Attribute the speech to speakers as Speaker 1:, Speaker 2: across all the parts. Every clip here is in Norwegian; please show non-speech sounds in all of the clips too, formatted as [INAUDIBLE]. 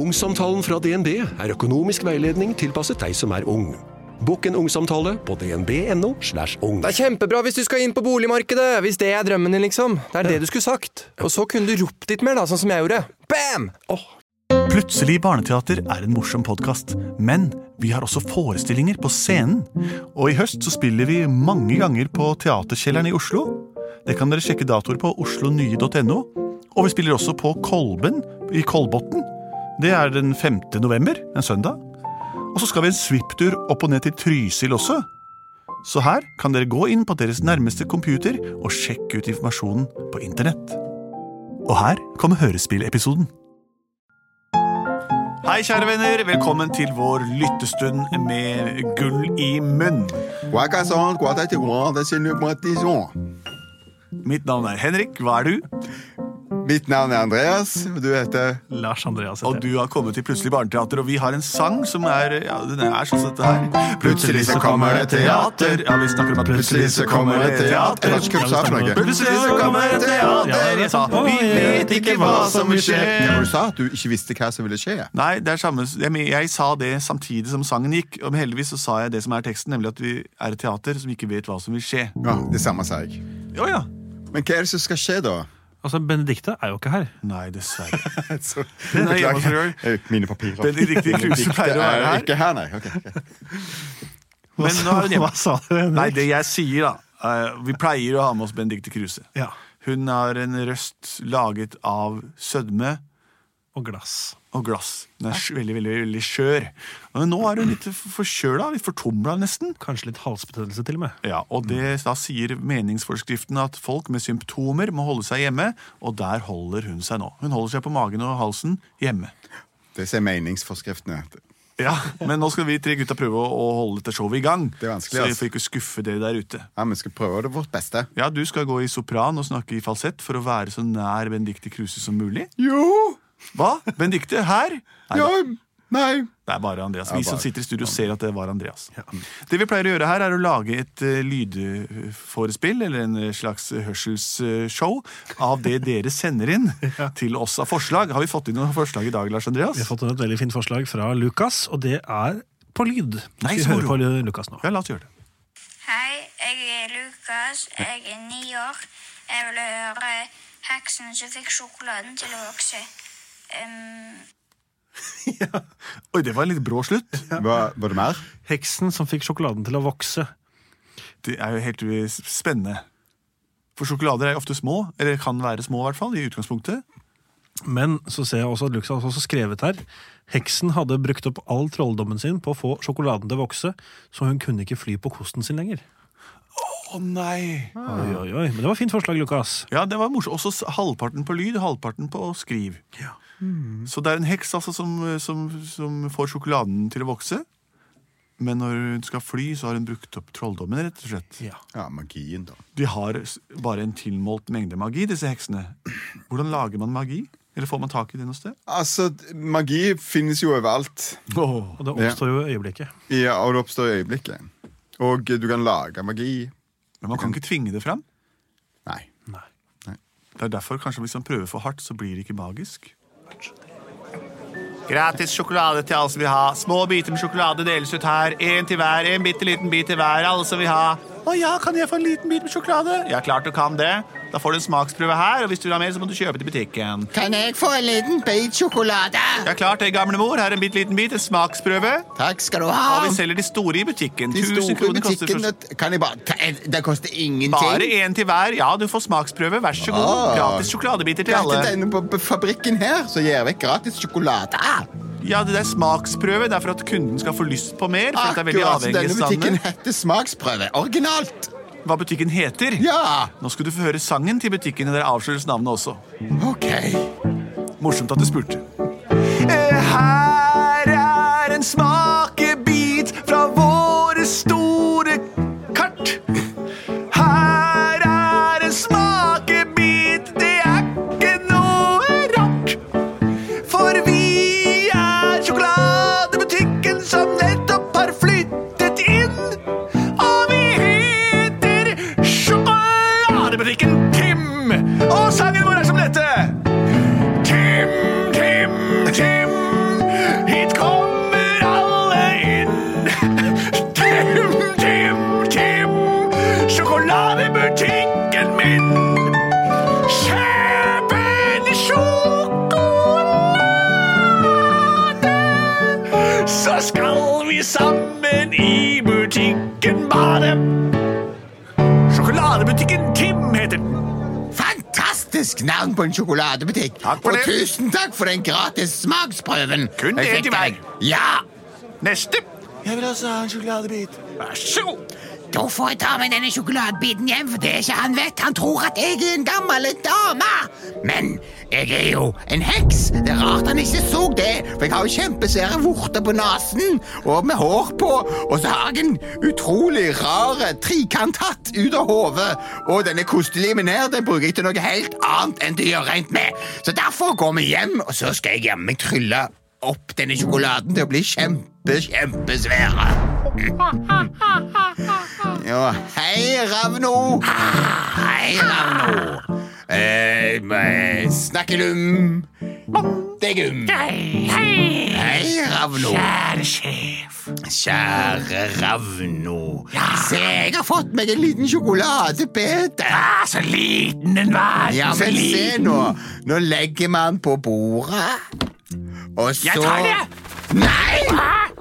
Speaker 1: Ungsamtalen fra DNB er økonomisk veiledning tilpasset deg som er ung. Bokk en ungsamtale på dnb.no. slash ung.
Speaker 2: Det er kjempebra hvis du skal inn på boligmarkedet! Hvis det er drømmen din, liksom. Det er det du skulle sagt. Og så kunne du ropt litt mer, da, sånn som jeg gjorde. Bam!
Speaker 3: Plutselig barneteater er en morsom podkast, men vi har også forestillinger på scenen. Og i høst så spiller vi mange ganger på Teaterkjelleren i Oslo. Det kan dere sjekke datoer på oslonye.no. Og vi spiller også på Kolben i Kolbotn. Det er den 5. november, en søndag. Og så skal vi en svipptur opp og ned til Trysil også. Så her kan dere gå inn på deres nærmeste computer og sjekke ut informasjonen på internett. Og her kommer hørespillepisoden. Hei, kjære venner. Velkommen til vår lyttestund med gull i munn. Mitt navn er Henrik. Hva er du?
Speaker 4: Mitt navn er Andreas, og du heter
Speaker 5: Lars
Speaker 4: Altså,
Speaker 5: Andreas
Speaker 3: Og
Speaker 5: heter jeg.
Speaker 3: du har kommet til Plutselig barneteater, og vi har en sang som er ja, den er sånn som dette her.
Speaker 4: Plutselig så kommer det teater.
Speaker 3: Ja, vi snakker om at
Speaker 4: Plutselig så kommer det teater. Lars Kurt sa for noe.
Speaker 3: Plutselig så kommer det teater. Jeg sa vi vet ikke hva som vil skje.
Speaker 4: Ja, men du sa at du ikke visste hva som ville skje.
Speaker 3: Nei, det er samme, jeg, men- jeg sa det samtidig som sangen gikk. Og heldigvis så sa jeg det som er teksten, nemlig at vi er et teater som ikke vet hva som vil skje.
Speaker 4: Ja, Det samme sa jeg.
Speaker 3: Å ja.
Speaker 4: Men hva er det som skal skje, da? [LAUGHS]
Speaker 5: Altså, Benedicte er jo ikke her.
Speaker 3: Nei, dessverre.
Speaker 4: Så-
Speaker 3: Hun er hjemme hos seg sjøl.
Speaker 4: Eh, Mine papirer.
Speaker 3: Benedicte Kruse pleier å være
Speaker 4: Er
Speaker 3: her.
Speaker 4: Ikke her, nei. ok, ok.
Speaker 3: Men nå er hun hjemme.
Speaker 5: Hva sa du? Henrik?
Speaker 3: Nei, det jeg sier, da. eh, Vi pleier å ha med oss Benedicte Kruse.
Speaker 5: Ja,
Speaker 3: Hun har en røst laget av sødme
Speaker 5: Og glass.
Speaker 3: og glass. Hun er sj- veldig, veldig, veldig skjør. Men nå er hun litt f- forkjøla, litt fortumla nesten.
Speaker 5: Kanskje litt halsbetennelse, til og med.
Speaker 3: Ja, og det, Da sier meningsforskriften at folk med symptomer må holde seg hjemme, og der holder hun seg nå. Hun holder seg på magen og halsen hjemme.
Speaker 4: Det ser meningsforskriftene.
Speaker 3: Ja, Men nå skal vi tre gutta prøve å, å holde dette showet i gang.
Speaker 4: Det er vanskelig,
Speaker 3: så vi
Speaker 4: ass.
Speaker 3: får ikke skuffe dere der ute.
Speaker 4: Ja, Vi skal prøve det vårt beste.
Speaker 3: Ja, Du skal gå i sopran og snakke i falsett for å være så nær Benedicte Kruse som mulig.
Speaker 4: Jo!
Speaker 3: Hva? Benedicte her? Nei,
Speaker 4: Jo!
Speaker 3: da,
Speaker 4: Nei.
Speaker 3: det er bare Andreas.
Speaker 4: Ja,
Speaker 3: Vi som
Speaker 4: bare.
Speaker 3: sitter i studio, ser at det var Andreas. Det vi pleier å gjøre her, er å lage et eh, lydforespill, eller en eh, slags hørselsshow, av det dere sender inn til oss av forslag. Har vi fått inn noen forslag i dag, Lars
Speaker 5: Vi har
Speaker 3: Andreas?
Speaker 5: fått inn et veldig fint forslag fra Lukas, og det er på lyd.
Speaker 3: Nei,
Speaker 5: Skal
Speaker 3: så
Speaker 5: vi
Speaker 3: moro.
Speaker 5: høre på Lu- Lukas nå.
Speaker 3: Ja, la oss gjøre det.
Speaker 6: Hei, jeg er Lukas. Jeg er ni år. Jeg ville høre heksen som fikk sjokoladen til å vokse. Um,
Speaker 3: Oi, det var en litt brå slutt.
Speaker 4: Var, var det mer?
Speaker 5: Heksen som fikk sjokoladen til å vokse.
Speaker 3: Det er jo helt eh, spennende. For sjokolader er jo ofte små, eller kan være små i hvert fall, i utgangspunktet.
Speaker 5: Men så ser jeg også at Lukas har også skrevet her Heksen hadde brukt opp all trolldommen sin på å få sjokoladen til å vokse, så hun kunne ikke fly på kosten sin lenger.
Speaker 3: Å nei!
Speaker 5: Oi, oi, oi. Men det var fint forslag, Lukas.
Speaker 3: Ja, det var morsomt. Også s- halvparten på lyd, halvparten på skriv. Så det er en heks altså, som, som, som får sjokoladen til å vokse. Men når hun skal fly, så har hun brukt opp trolldommen, rett og slett.
Speaker 4: Ja, magien, da.
Speaker 3: De har s- bare en tilmålt mengde magi, disse heksene. Hvordan lager man magi? Eller får man tak i det noe sted?
Speaker 4: Altså, magi finnes jo overalt.
Speaker 5: Og det oppstår jo i øyeblikket. [LAUGHS]
Speaker 4: Ja, og det oppstår i øyeblikket. Og du kan lage magi.
Speaker 3: Men man kan ikke tvinge det fram.
Speaker 4: Nei.
Speaker 5: Nei.
Speaker 3: Det er derfor kanskje hvis man prøver for hardt, så blir det ikke magisk. Gratis sjokolade til alle som vil ha. Små biter med sjokolade deles ut her. Én til hver, en bitte liten bit til hver. Alle som vil ha. Å ja, kan jeg få en liten bit med sjokolade? Ja, klart du kan det. Da får du en smaksprøve her, og hvis du vil ha mer, så må du kjøpe til butikken.
Speaker 7: Kan jeg få en liten bit sjokolade?
Speaker 3: Ja, klart det, gamle mor. Her er en bitte liten bit. En smaksprøve.
Speaker 7: Takk skal du
Speaker 8: Ah.
Speaker 3: Og
Speaker 7: ha.
Speaker 3: vi selger de store i butikken.
Speaker 7: De
Speaker 3: 1000
Speaker 7: store
Speaker 3: kroner koster
Speaker 7: butikkene
Speaker 3: for...
Speaker 7: kan jeg bare ta en,
Speaker 4: eh,
Speaker 7: Det koster
Speaker 3: Bare
Speaker 7: ingenting.
Speaker 3: én til hver. Ja, du får smaksprøve. Vær så god.
Speaker 4: Ah.
Speaker 3: Gratis sjokoladebiter til alle.
Speaker 4: Dette er inne på på fabrikken her, så gir jeg vekk gratis sjokolade. Ah,
Speaker 7: Da.
Speaker 3: Ja, det er smaksprøve. Det er for at kunden skal få lyst på mer. For at det er veldig
Speaker 4: Akkurat som
Speaker 3: avhengig
Speaker 4: denne butikken
Speaker 3: av
Speaker 4: heter Smaksprøve.
Speaker 7: Originalt.
Speaker 3: standene. Hva butikken heter.
Speaker 4: Ja!
Speaker 3: Nå skal du få høre sangen til butikken, og dere avsløres navnet også.
Speaker 4: Ok.
Speaker 3: Morsomt at du spurte. Eh, Her er en smakebit fra våre store kart. Her er en smakebit, det er ikke noe rart. For vi er sjokoladebutikken som nettopp har flyttet inn. Og vi heter Sjokoladebutikken Tim. Og sangen vår er som dette. Tim, Tim, Tim,
Speaker 8: [LAUGHS] så skal vi sammen i butikken bare. Sjokoladebutikken Tim heter den.
Speaker 7: Fantastisk navn på en sjokoladebutikk.
Speaker 8: Takk for
Speaker 7: og
Speaker 8: det.
Speaker 7: tusen takk for den gratis smaksprøven.
Speaker 8: Kun
Speaker 7: Jeg
Speaker 8: det
Speaker 7: fikk
Speaker 8: til meg.
Speaker 7: den. Ja,
Speaker 8: Neste.
Speaker 3: Jeg vil også ha en sjokoladebit.
Speaker 8: Vær så god.
Speaker 7: da får jeg ta med denne sjokoladebiten hjem, for det er ikke han vet. Han tror at jeg er en gammel dame. Men jeg er jo en heks. Det er rart han ikke så det, for jeg har jo kjempesvære vorter på nesen og med hår på, og så har jeg en utrolig rar trikanthatt ut av hodet, og denne kostelimen her, den bruker jeg til noe helt annet enn til å gjøre rent med. Så derfor går vi hjem, og så skal jeg jammen trylle opp denne sjokoladen til å bli kjempe, kjempesvære. Ja, hei, Ravno. Ah, Hei, Ravno. Eh, eh, snakkelum. Degum. Hei, Ravno.
Speaker 8: Kjære sjef.
Speaker 7: Kjære Ravno. Se, jeg har fått meg en liten sjokoladebete.
Speaker 8: Ah, så liten den var.
Speaker 7: Ja,
Speaker 8: så
Speaker 7: men se
Speaker 8: liten.
Speaker 7: nå. Nå legger man på bordet, og så
Speaker 8: Jeg tar det.
Speaker 7: Nei!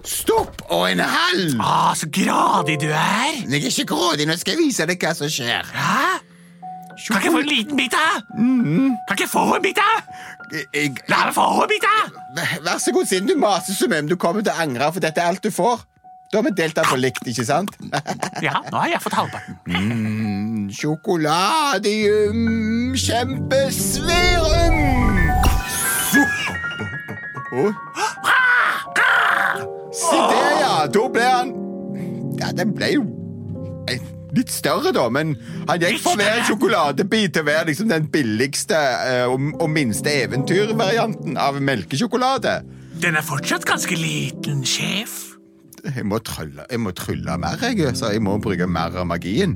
Speaker 7: Stopp og en halv.
Speaker 8: Ah, så gradig du er.
Speaker 7: Jeg er ikke grådig. Nå skal jeg vise deg hva som skjer.
Speaker 8: Hæ? Kan ikke jeg få en liten bit, da?
Speaker 3: Mm-hmm.
Speaker 8: Kan ikke jeg få en bit, da?
Speaker 7: Jeg,
Speaker 8: La meg få en bit, da!
Speaker 7: Vær- Vær så god, siden du maser så mye, men du kommer til å angre, for dette er alt du får. Da har vi delt den for likt, ikke sant?
Speaker 8: [LAUGHS]
Speaker 7: Mm,
Speaker 8: Ja, nå har jeg fått halvparten.
Speaker 7: Sjokoladium kjempesverum! Å. Se der, ja. Da ble han Ja, den ble jo eh, litt større, da, men han gikk fra å være en sjokoladebit til å være liksom den billigste eh, og, og minste eventyrvarianten av melkesjokolade.
Speaker 8: Den er fortsatt ganske liten, sjef.
Speaker 7: Jeg må trylle, jeg må trylle mer, jeg. Så jeg må bruke mer av magien.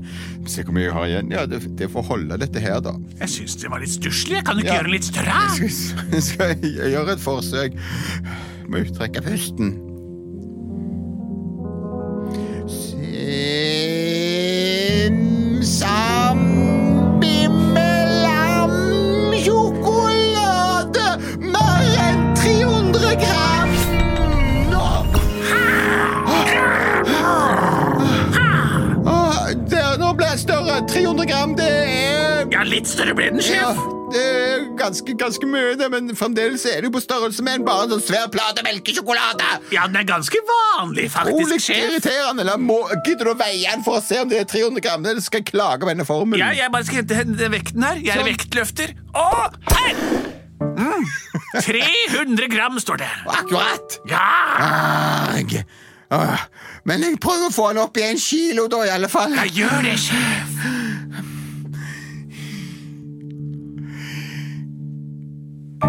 Speaker 7: Se hvor mye jeg har igjen. Ja, det, det får holde, dette her, da.
Speaker 8: Jeg syns det var litt stusslig. Jeg Kan du ikke
Speaker 7: Ja.
Speaker 8: gjøre det litt større?
Speaker 7: Skal, jeg- [LAUGHS] skal jeg gjøre et forsøk? Må jeg trekke pusten. Simsambimelam sjokolade mer enn 300 gram! Nå. Ah, Der, nå ble jeg større. 300 gram, det er
Speaker 8: Ja, litt større ble den,
Speaker 7: ja,
Speaker 8: sjef.
Speaker 7: det er ganske, ganske mye, det, men fremdeles er det jo på størrelse med en bare en sånn svær plate melkesjokolade.
Speaker 8: Ja, den er ganske
Speaker 7: Rolig
Speaker 8: vanlig, faktisk, sjef.
Speaker 7: irriterende. Eller må, gidder du å veie den for å se om det er 300 gram? Det skal jeg klage på denne formelen.
Speaker 8: Ja, jeg bare skal hente- hente vekten her. Jeg er
Speaker 7: Sånn.
Speaker 8: vektløfter. Å, her! Mm. 300 gram, står det.
Speaker 7: Akkurat.
Speaker 8: Ja,
Speaker 7: Arg. Åh, Men jeg prøver å få den opp i en kilo, da, i alle fall.
Speaker 8: jeg gjør det, sjef.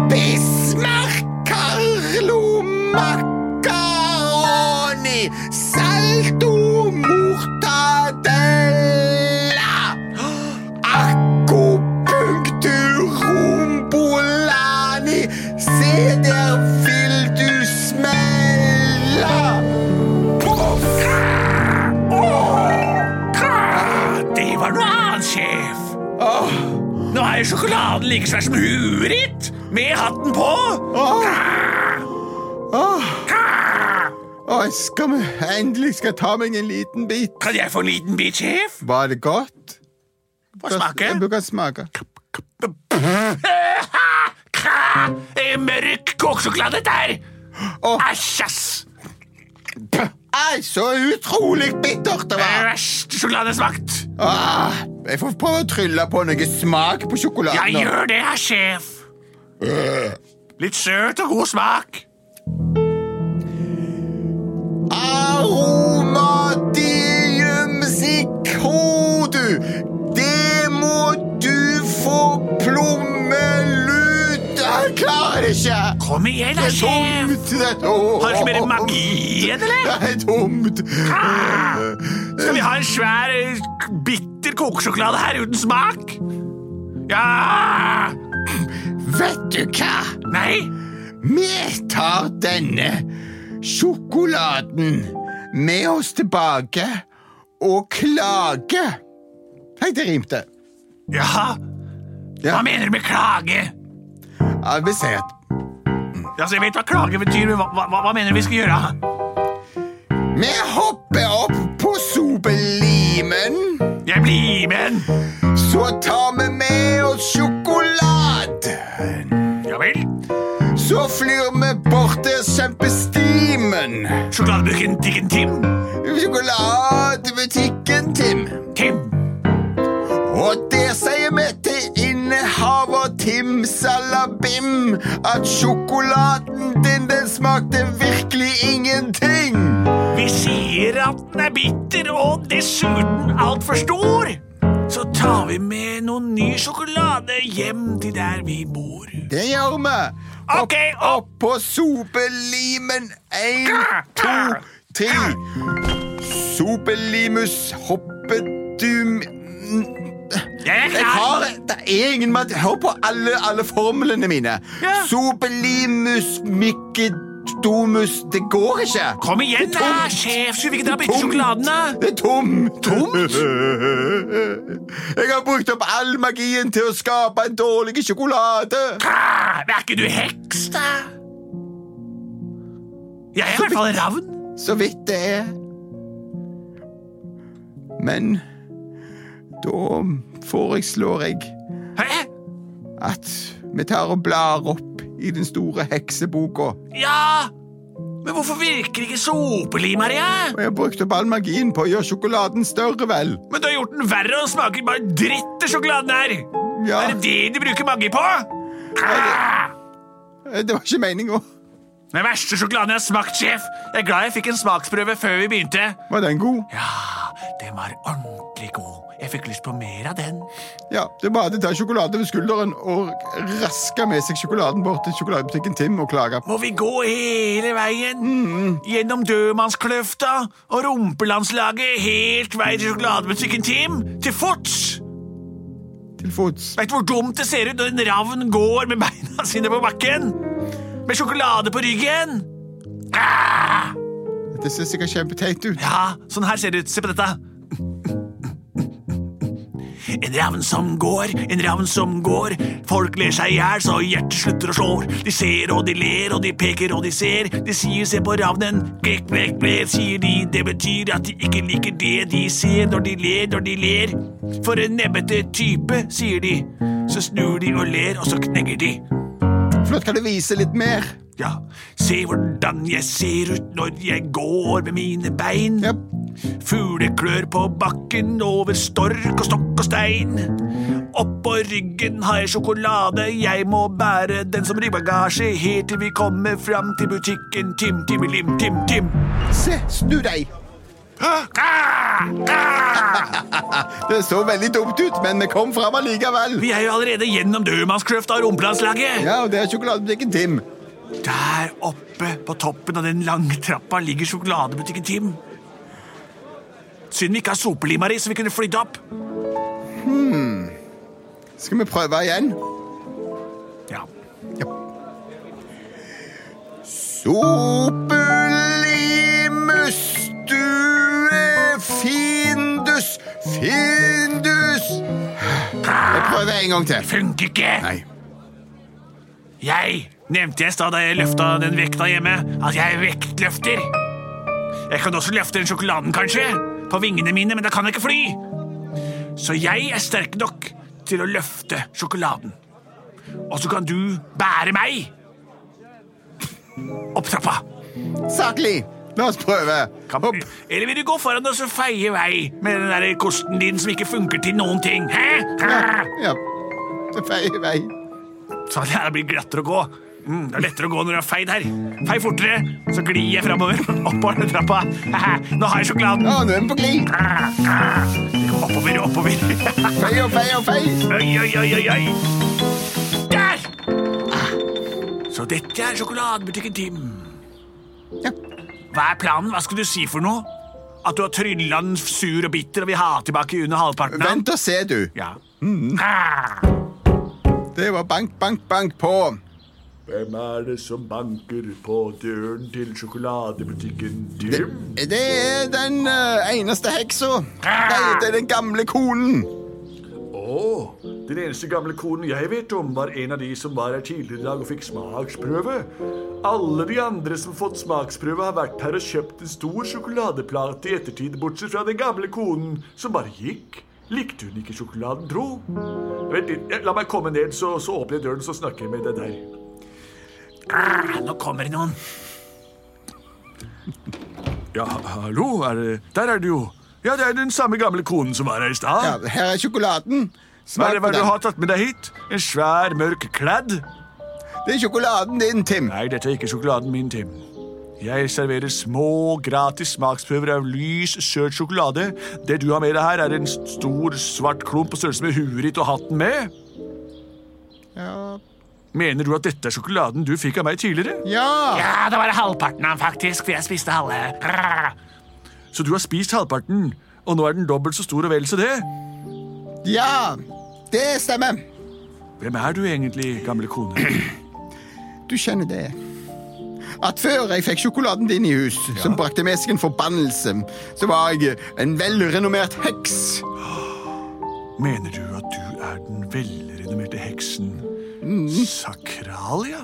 Speaker 7: Bismarck Carlo Macaroni Salto Mortadella Akupunktur Rombolani Se der vil du smelle Poff Oh,
Speaker 8: Ah, Det var noe annet, sjef. Nå er jo sjokoladen like svær som huet ditt, med hatten på.
Speaker 7: Åh, skal vi endelig skal jeg ta meg en liten bit
Speaker 8: Kan jeg få en liten bit, sjef?
Speaker 7: Var det godt?
Speaker 8: Få smake?
Speaker 7: Jeg bruker smake
Speaker 8: Kra! Eh, Mørk kokesjokolade der!
Speaker 7: Åh.
Speaker 8: Æsj, ass!
Speaker 7: Ei, så utrolig bittert det var
Speaker 8: Verste sjokoladesmakt.
Speaker 7: Ah, jeg får prøve å trylle på noe smak på
Speaker 8: Jeg
Speaker 7: sjokoladen.
Speaker 8: gjør det, herr sjef.
Speaker 7: Eh.
Speaker 8: Litt søt og god smak.
Speaker 7: Aromadium sikrodu. Det må du få plommelut. Jeg klarer det ikke.
Speaker 8: Kom igjen, herr
Speaker 7: Det er
Speaker 3: sånn.
Speaker 8: sjef.
Speaker 7: tomt. Det er tomt.
Speaker 8: Har du ikke mer magi igjen, eller?
Speaker 7: Det er tomt.
Speaker 8: Skal vi ha en svær, eh, bitter kokesjokolade her uten smak? Ja!
Speaker 7: Vet du hva?
Speaker 8: Nei?
Speaker 7: Vi tar denne sjokoladen med oss tilbake og klager. Hei, det rimte.
Speaker 8: Ja?
Speaker 7: Ja.
Speaker 8: Hva mener du med klage?
Speaker 7: Jeg vil si at
Speaker 8: Altså, jeg vet hva klage betyr, men hva, hva, hva mener du vi skal gjøre?
Speaker 7: Vi hopper opp på sopelimen.
Speaker 3: Jeg blir med den!
Speaker 7: Så tar vi med oss sjokoladen.
Speaker 3: Ja vel?
Speaker 7: Så flyr vi bort til kjempestimen.
Speaker 3: Sjokoladebukken Tikken Tim.
Speaker 7: Sjokoladebutikken Tim.
Speaker 3: Tim.
Speaker 7: Og det sier vi til innehaver Tim Salabim at sjokoladen din, den smakte virkelig ingenting.
Speaker 3: Vi sier at den er bitter og dessuten altfor stor. Så tar vi med noen ny sjokolade hjem til der vi bor.
Speaker 7: Det gjør vi.
Speaker 3: Ok, opp!
Speaker 7: På sopelimen én, to, tre. Sopelimus hoppedum
Speaker 3: Jeg er
Speaker 7: Jeg
Speaker 3: klar.
Speaker 7: har det er ingen mat... Hør på alle, alle formlene mine.
Speaker 3: Ja.
Speaker 7: Sopelimus mykedomus Det går ikke.
Speaker 3: Kom igjen,
Speaker 7: Det er
Speaker 3: da,
Speaker 7: tomt.
Speaker 3: sjef. Skulle vi ikke dra begge
Speaker 7: Tomt.
Speaker 3: sjokoladen, da?
Speaker 7: Det er tomt. [LAUGHS] Jeg har brukt opp all magien til å skape en dårlig sjokolade.
Speaker 3: Ah, men er ikke du heks, da? Jeg er i hvert fall ravn.
Speaker 7: Så vidt det er. Men da foreslår jeg
Speaker 3: Hæ?
Speaker 7: at vi tar og blar opp i den store hekseboka.
Speaker 3: Ja, men hvorfor virker ikke sopelima di?
Speaker 7: Og jeg har brukt opp all magien på å gjøre sjokoladen større, vel.
Speaker 3: Men du har gjort den verre og den smaker bare dritt, den sjokoladen her.
Speaker 7: Ja,
Speaker 3: Er det det de bruker magi på? Ah,
Speaker 7: eh, det var ikke meninga.
Speaker 3: Den verste sjokoladen jeg har smakt, sjef. Jeg er glad jeg fikk en smaksprøve før vi begynte.
Speaker 7: Var den god?
Speaker 3: Ja, den var ordentlig god. Jeg fikk lyst på mer av den.
Speaker 7: Ja, det er bare å ta sjokolade ved skulderen og raske med seg sjokoladen bort til sjokoladebutikken Tim og klage.
Speaker 3: Må vi gå hele veien? Gjennom dødmannskløfta og rumpelandslaget helt vei til sjokoladebutikken Tim? Til fots?
Speaker 7: Til fots.
Speaker 3: Veit du hvor dumt det ser ut når en ravn går med beina sine på bakken? Med sjokolade på ryggen? Ah!
Speaker 7: Dette ser sikkert kjempeteit ut.
Speaker 3: Ja, sånn her ser det ut. Se på dette. En ravn som går, en ravn som går. Folk ler seg i hjel så hjertet slutter å slå. De ser og de ler og de peker og de ser. De sier 'se på ravnen', blek, blek, blek, sier de. Det betyr at de ikke liker det de ser når de ler, når de ler. For en nebbete type, sier de. Så snur de og ler, og så knenger de.
Speaker 7: Flott, kan du vise litt mer?
Speaker 3: Ja, se hvordan jeg ser ut når jeg går med mine bein.
Speaker 7: Japp.
Speaker 3: Fugleklør på bakken over stork og stokk og stein. Oppå ryggen har jeg sjokolade, jeg må bære den som ryggbasasje helt til vi kommer fram til butikken Tim Tim Lim Tim Tim.
Speaker 7: Se, snu deg.
Speaker 3: Ah!
Speaker 7: Det så veldig dumt ut, men vi kom fram allikevel.
Speaker 3: Vi er jo allerede gjennom dødmannskløfta og rumpelandslaget.
Speaker 7: Ja, og det er sjokoladebutikken Tim.
Speaker 3: Der oppe på toppen av den lange trappa ligger sjokoladebutikken Tim. Synd vi ikke har sopelimer i, så vi kunne flydd opp.
Speaker 7: Skal vi prøve igjen?
Speaker 3: Ja.
Speaker 7: Sopelimus, du er findus, findus. Jeg prøver en gang til.
Speaker 3: Funker ikke!
Speaker 7: Nei.
Speaker 3: Jeg nevnte jeg i stad da jeg løfta den vekta hjemme, at jeg vektløfter. Jeg kan også løfte den sjokoladen, kanskje, på vingene mine, men da kan jeg ikke fly. Så jeg er sterk nok til å løfte sjokoladen. Og så kan du bære meg opp trappa.
Speaker 7: Saklig. La oss prøve. Hopp.
Speaker 3: Eller vil du gå foran oss og feie vei med den der kosten din som ikke funker til noen ting? Hæ? Hæ?
Speaker 7: Ja. Det feier vei.
Speaker 3: Sånn, ja, det blir glattere å gå. Mm, det er lettere å gå når du har feid her. Fei fortere, så glir jeg framover. [LAUGHS] Oppover den trappa. Nå har jeg sjokoladen.
Speaker 7: Å, nå er vi på glid.
Speaker 3: Oppover, oppover. [LAUGHS]
Speaker 7: Fei og fei og fei.
Speaker 3: Oi, oi, oi, oi, oi. Der! Ah. Så dette er sjokoladebutikken Tim.
Speaker 7: Ja.
Speaker 3: Hva er planen? Hva skal du si for noe? At du har trylla den sur og bitter og vil ha tilbake under halvparten? av den?
Speaker 7: Vent og se, du.
Speaker 3: Ja. Ah.
Speaker 7: Det var bank, bank, bank på.
Speaker 9: Hvem er det som banker på døren til sjokoladebutikken Tim?
Speaker 7: Det er den eh, eneste heksa. Nei, det er den gamle konen.
Speaker 9: Å, Den eneste gamle konen jeg vet om, var en av de som var her tidligere i dag og fikk smaksprøve. Alle de andre som fått smaksprøve, har vært her og kjøpt en stor sjokoladeplate i ettertid, bortsett fra den gamle konen som bare gikk. Likte hun ikke sjokoladen, tro? Vent litt, eh, la meg komme ned, så, så åpner jeg døren, så snakker jeg med deg der.
Speaker 3: Ah, nå kommer det noen.
Speaker 9: Ja, hallo, er det Der er du jo. Ja, det er den samme gamle konen som var her i stad.
Speaker 7: Ja, her er sjokoladen.
Speaker 9: Hva er
Speaker 7: Smak
Speaker 9: det
Speaker 7: på
Speaker 9: hva er det
Speaker 7: den.
Speaker 9: du har tatt med deg hit? En svær, mørk kladd?
Speaker 7: Det er sjokoladen din, Tim.
Speaker 9: Nei, dette er ikke sjokoladen min, Tim. Jeg serverer små, gratis smaksprøver av lys, søt sjokolade. Det du har med deg her, er en stor, svart klump på størrelse med huet ditt og hatten med.
Speaker 7: Ja.
Speaker 9: Mener du at dette er sjokoladen du fikk av meg tidligere?
Speaker 7: ja.
Speaker 3: Ja, det var halvparten av den, faktisk, for jeg spiste halve.
Speaker 9: Så du har spist halvparten, og nå er den dobbelt så stor og vel så det?
Speaker 7: Ja, det stemmer.
Speaker 9: Hvem er du egentlig, gamle kone? [CLEARS THROAT]
Speaker 7: Du skjønner det. At før jeg fikk sjokoladen din i hus, som brakte med seg en forbannelse, så var jeg eh, en velrenommert heks.
Speaker 9: Mener du at du er den velrenommerte heksen Sakralia?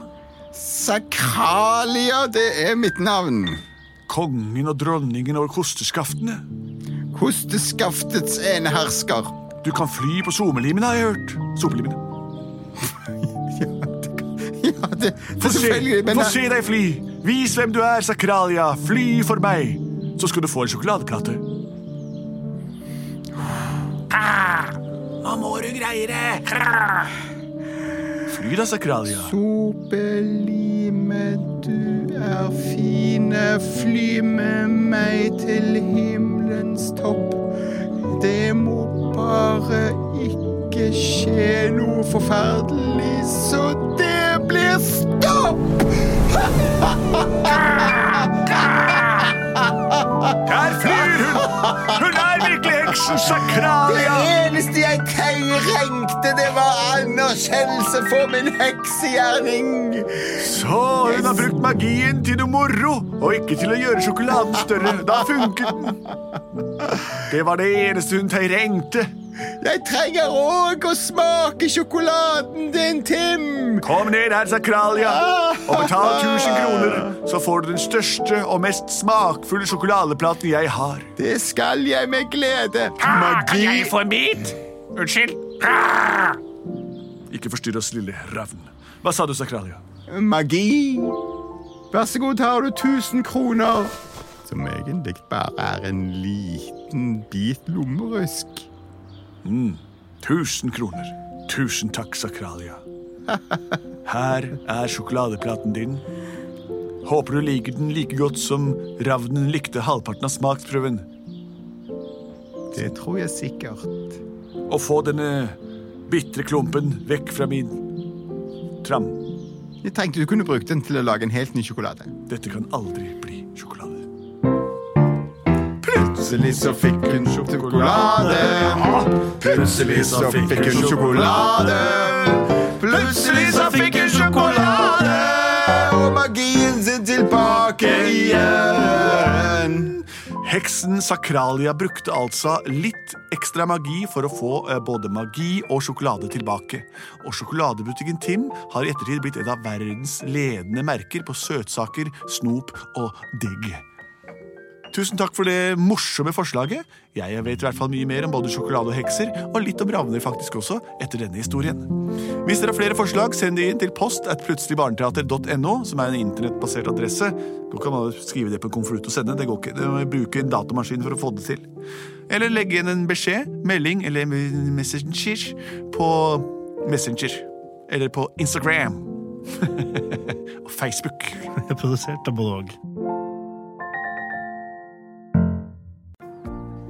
Speaker 7: Sakralia, det er mitt navn.
Speaker 9: Kongen og dronningen over kosteskaftene?
Speaker 7: Kosteskaftets enehersker. [LAUGHS]
Speaker 9: Du kan fly på somelimene, har jeg hørt. Somelimene.
Speaker 7: Ja, det, det
Speaker 9: Få
Speaker 7: er
Speaker 9: se,
Speaker 7: selvfølgelig, men
Speaker 9: få se deg fly! Vis hvem du er, Sakralia! Fly for meg! Så skal du få en sjokoladeplate.
Speaker 3: Nå må du greie det!
Speaker 9: Fly da, Sakralia.
Speaker 7: Sopelime, du er fine, fly med meg til himmelens topp. Det må bare ikke skje noe forferdelig, så det blir stopp!
Speaker 9: Der flyr hun! Hun er virkelig heksen
Speaker 7: Det
Speaker 9: Sakralia!
Speaker 7: eneste jeg trengte, det var anerkjennelse for min heksegjerning.
Speaker 9: Så hun har brukt magien til noe moro, og ikke til å gjøre sjokoladen større. Da funket den. Det var det eneste hun trengte.
Speaker 7: Jeg trenger òg å smake sjokoladen din, Tim.
Speaker 9: Kom ned her, Sakralia, og betal 1000 kroner, så får du den største og mest smakfulle sjokoladeplaten jeg har.
Speaker 7: Det skal jeg med glede.
Speaker 3: Kan
Speaker 7: Magi
Speaker 3: jeg få en bit? Unnskyld.
Speaker 9: Ikke forstyrr oss, lille ravn. Hva sa du, Sakralia?
Speaker 7: Magi. Vær så god, her har du 1000 kroner. Som egentlig bare er en liten bit lommerusk.
Speaker 9: 1000 kroner. Tusen takk, [LAUGHS] Sakralia. Her er sjokoladeplaten din. Håper du liker den like godt som ravnen likte halvparten av smaksprøven.
Speaker 7: Det tror jeg sikkert.
Speaker 9: Og få denne bitre klumpen vekk fra min tram.
Speaker 7: Jeg tenkte du kunne brukt den til å lage en helt ny sjokolade.
Speaker 9: Dette kan aldri bli sjokolade.
Speaker 7: Plutselig så fikk hun sjokolade. Ah, Plutselig så fikk hun sjokolade. Plutselig så fikk hun sjokolade. Og magien sin tilbake igjen.
Speaker 9: Heksen Sakralia brukte altså litt ekstra magi for å få eh, både magi og sjokolade tilbake. Og sjokoladebutikken Tim har i ettertid blitt et av verdens ledende merker på søtsaker, snop og digg. Tusen takk for det morsomme forslaget. Jeg vet i hvert fall mye mer om både sjokolade og hekser, og litt om ravner faktisk også, etter denne historien. Hvis dere har flere forslag, send de inn til post at plutseligbarneteater.no, som er en internettbasert adresse. Du kan bare skrive det på en konvolutt og sende. Det går ikke. Du må bruke en datamaskin for å få det til. Eller legge igjen en beskjed, melding eller messenger på Messenger. Eller på Instagram. [LAUGHS] og Facebook.
Speaker 5: Produsert av både og.